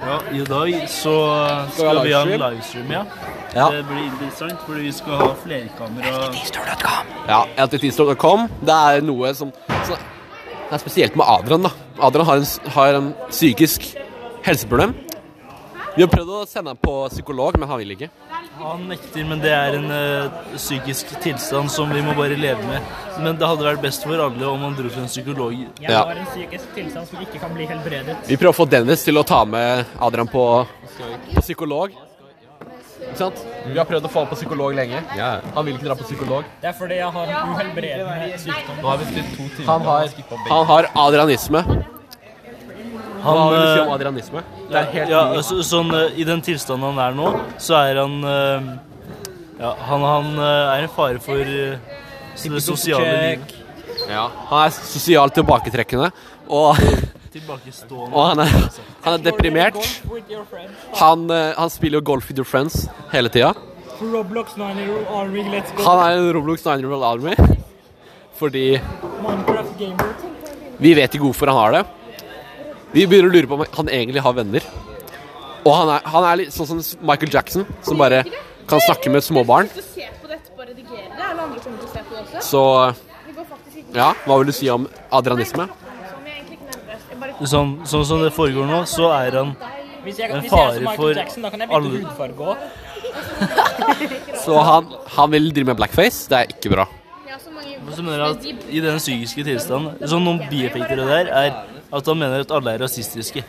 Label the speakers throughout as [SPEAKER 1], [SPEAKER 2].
[SPEAKER 1] Ja, I dag så skal vi ha en livestream, ja.
[SPEAKER 2] Ja.
[SPEAKER 1] Det blir interessant, fordi vi skal ha flerkamera.
[SPEAKER 2] Ja, lttstore.com. Det er noe som, som Det er spesielt med Adrian, da. Adrian har en, s- har en psykisk helseproblem. Vi har prøvd å sende ham på psykolog, men han vil ikke.
[SPEAKER 1] Han nekter, men det er en eh, psykisk tilstand som vi må bare leve med. Men det hadde vært best for alle om han dro til en psykolog.
[SPEAKER 3] Jeg
[SPEAKER 2] Ja.
[SPEAKER 3] har en psykisk tilstand som ikke kan bli helbredet.
[SPEAKER 2] Vi prøver å få Dennis til å ta med Adrian på, på psykolog. Ikke sant? Vi har prøvd å få ham på psykolog lenge.
[SPEAKER 4] Ja.
[SPEAKER 2] Han vil ikke dra på psykolog.
[SPEAKER 3] Det er fordi jeg har en uhelbredende sykdom.
[SPEAKER 4] Nå har vi spilt to timer.
[SPEAKER 2] Han har,
[SPEAKER 4] skippa
[SPEAKER 2] han har adrianisme. Hva
[SPEAKER 1] Han,
[SPEAKER 2] vil du si
[SPEAKER 1] eh,
[SPEAKER 2] om adrianisme? Det er helt
[SPEAKER 1] ja,
[SPEAKER 2] ny-
[SPEAKER 1] så, sånn, eh, I den tilstanden han er nå, så er han eh, Ja, han, han eh, er en fare for eh, det sosiale livet.
[SPEAKER 2] ja. Han er sosialt tilbaketrekkende, og, og
[SPEAKER 1] Tilbakestående.
[SPEAKER 2] han, er, han er deprimert.
[SPEAKER 3] With your friends.
[SPEAKER 2] Han, eh, han spiller jo golf with your friends hele tida.
[SPEAKER 3] Roblox 9 Army, let's go.
[SPEAKER 2] Han er en Roblox 9-year-old army fordi
[SPEAKER 3] Minecraft gamer.
[SPEAKER 2] vi vet ikke hvorfor han har det. Vi begynner å lure på om han egentlig har venner. Og han er, han er litt sånn som Michael Jackson, som bare kan snakke med små barn.
[SPEAKER 5] Hvis du ser på dette på redigere, det er det andre kommer til å se på det også.
[SPEAKER 2] Så
[SPEAKER 5] Vi går faktisk ikke
[SPEAKER 2] ja, hva vil du si om adrianisme?
[SPEAKER 5] Som jeg egentlig ikke nevner. Jeg bare
[SPEAKER 1] Sånn, sånn som det foregår nå, så er han
[SPEAKER 3] Hvis jeg,
[SPEAKER 1] En
[SPEAKER 3] hvis jeg er
[SPEAKER 1] fare
[SPEAKER 3] som
[SPEAKER 1] for
[SPEAKER 3] Michael Jackson, da kan jeg
[SPEAKER 1] alle.
[SPEAKER 3] bytte hudfarge òg.
[SPEAKER 2] Så han, han vil drive med blackface. Det er ikke bra.
[SPEAKER 5] Jeg har så mange
[SPEAKER 1] Så mener jeg at i den psykiske tilstanden Sånn noen bieffekter av det her er at han mener at alle er rasistiske.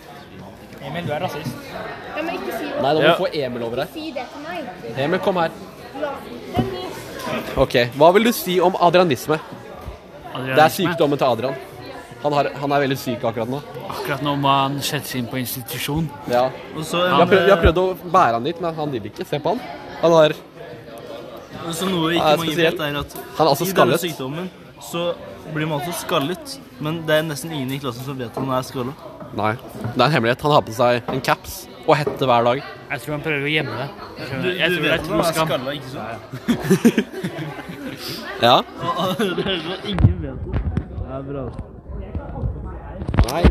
[SPEAKER 3] Emil, du er rasist.
[SPEAKER 5] Ja, men ikke si det.
[SPEAKER 2] Nei, da
[SPEAKER 1] Ja.
[SPEAKER 2] få Emil over her.
[SPEAKER 5] Si det til meg.
[SPEAKER 2] Emil, kom her.
[SPEAKER 5] La den gi.
[SPEAKER 2] Ok, Hva vil du si om adrianisme? Det er sykdommen til Adrian. Han, har, han er veldig syk akkurat nå.
[SPEAKER 6] Akkurat nå må han settes inn på institusjon.
[SPEAKER 2] Ja.
[SPEAKER 1] Og så
[SPEAKER 2] Jeg har,
[SPEAKER 1] en,
[SPEAKER 2] prøvd, jeg har prøvd å bære han dit, men han vil ikke. Se på han. Han har
[SPEAKER 1] og så noe ikke
[SPEAKER 2] Ja,
[SPEAKER 1] mange
[SPEAKER 2] spesiell.
[SPEAKER 1] vet, er at
[SPEAKER 2] Han er altså
[SPEAKER 1] i denne
[SPEAKER 2] skallet.
[SPEAKER 1] sykdommen så blir man også skallet. Men det er nesten ingen i klassen som vet at han er skalla.
[SPEAKER 2] Nei, det er en hemmelighet. Han har på seg en caps og hette hver dag.
[SPEAKER 6] Jeg tror han prøver å gjemme det. Jeg tror-
[SPEAKER 1] Du,
[SPEAKER 6] Jeg
[SPEAKER 1] du
[SPEAKER 6] tror det
[SPEAKER 1] vet
[SPEAKER 6] er
[SPEAKER 1] at
[SPEAKER 6] to
[SPEAKER 1] han er
[SPEAKER 6] skam.
[SPEAKER 1] skalla, ikke sant?
[SPEAKER 2] Ja.
[SPEAKER 1] Det er så ingen vet det. Det er bra.
[SPEAKER 2] Nei.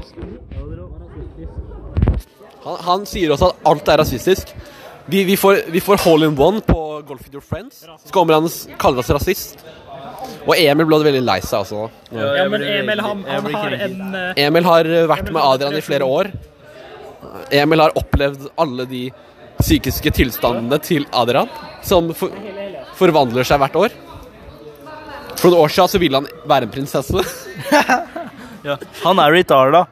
[SPEAKER 2] Han, han sier også at alt er rasistisk. Vi, vi, får, vi får hole in one på Golf with your friends. Så kommer han og s- kaller oss rasist. Og Emil ble veldig lei seg, altså.
[SPEAKER 3] Ja, men Emil, han, han har en eh,
[SPEAKER 2] Emil har eh, vært med Adrian i flere år. Emil har opplevd alle de psykiske tilstandene til Adrian, som for forvandler seg hvert år. For noen år siden så ville han være en prinsesse.
[SPEAKER 1] Ja. Han er retarda.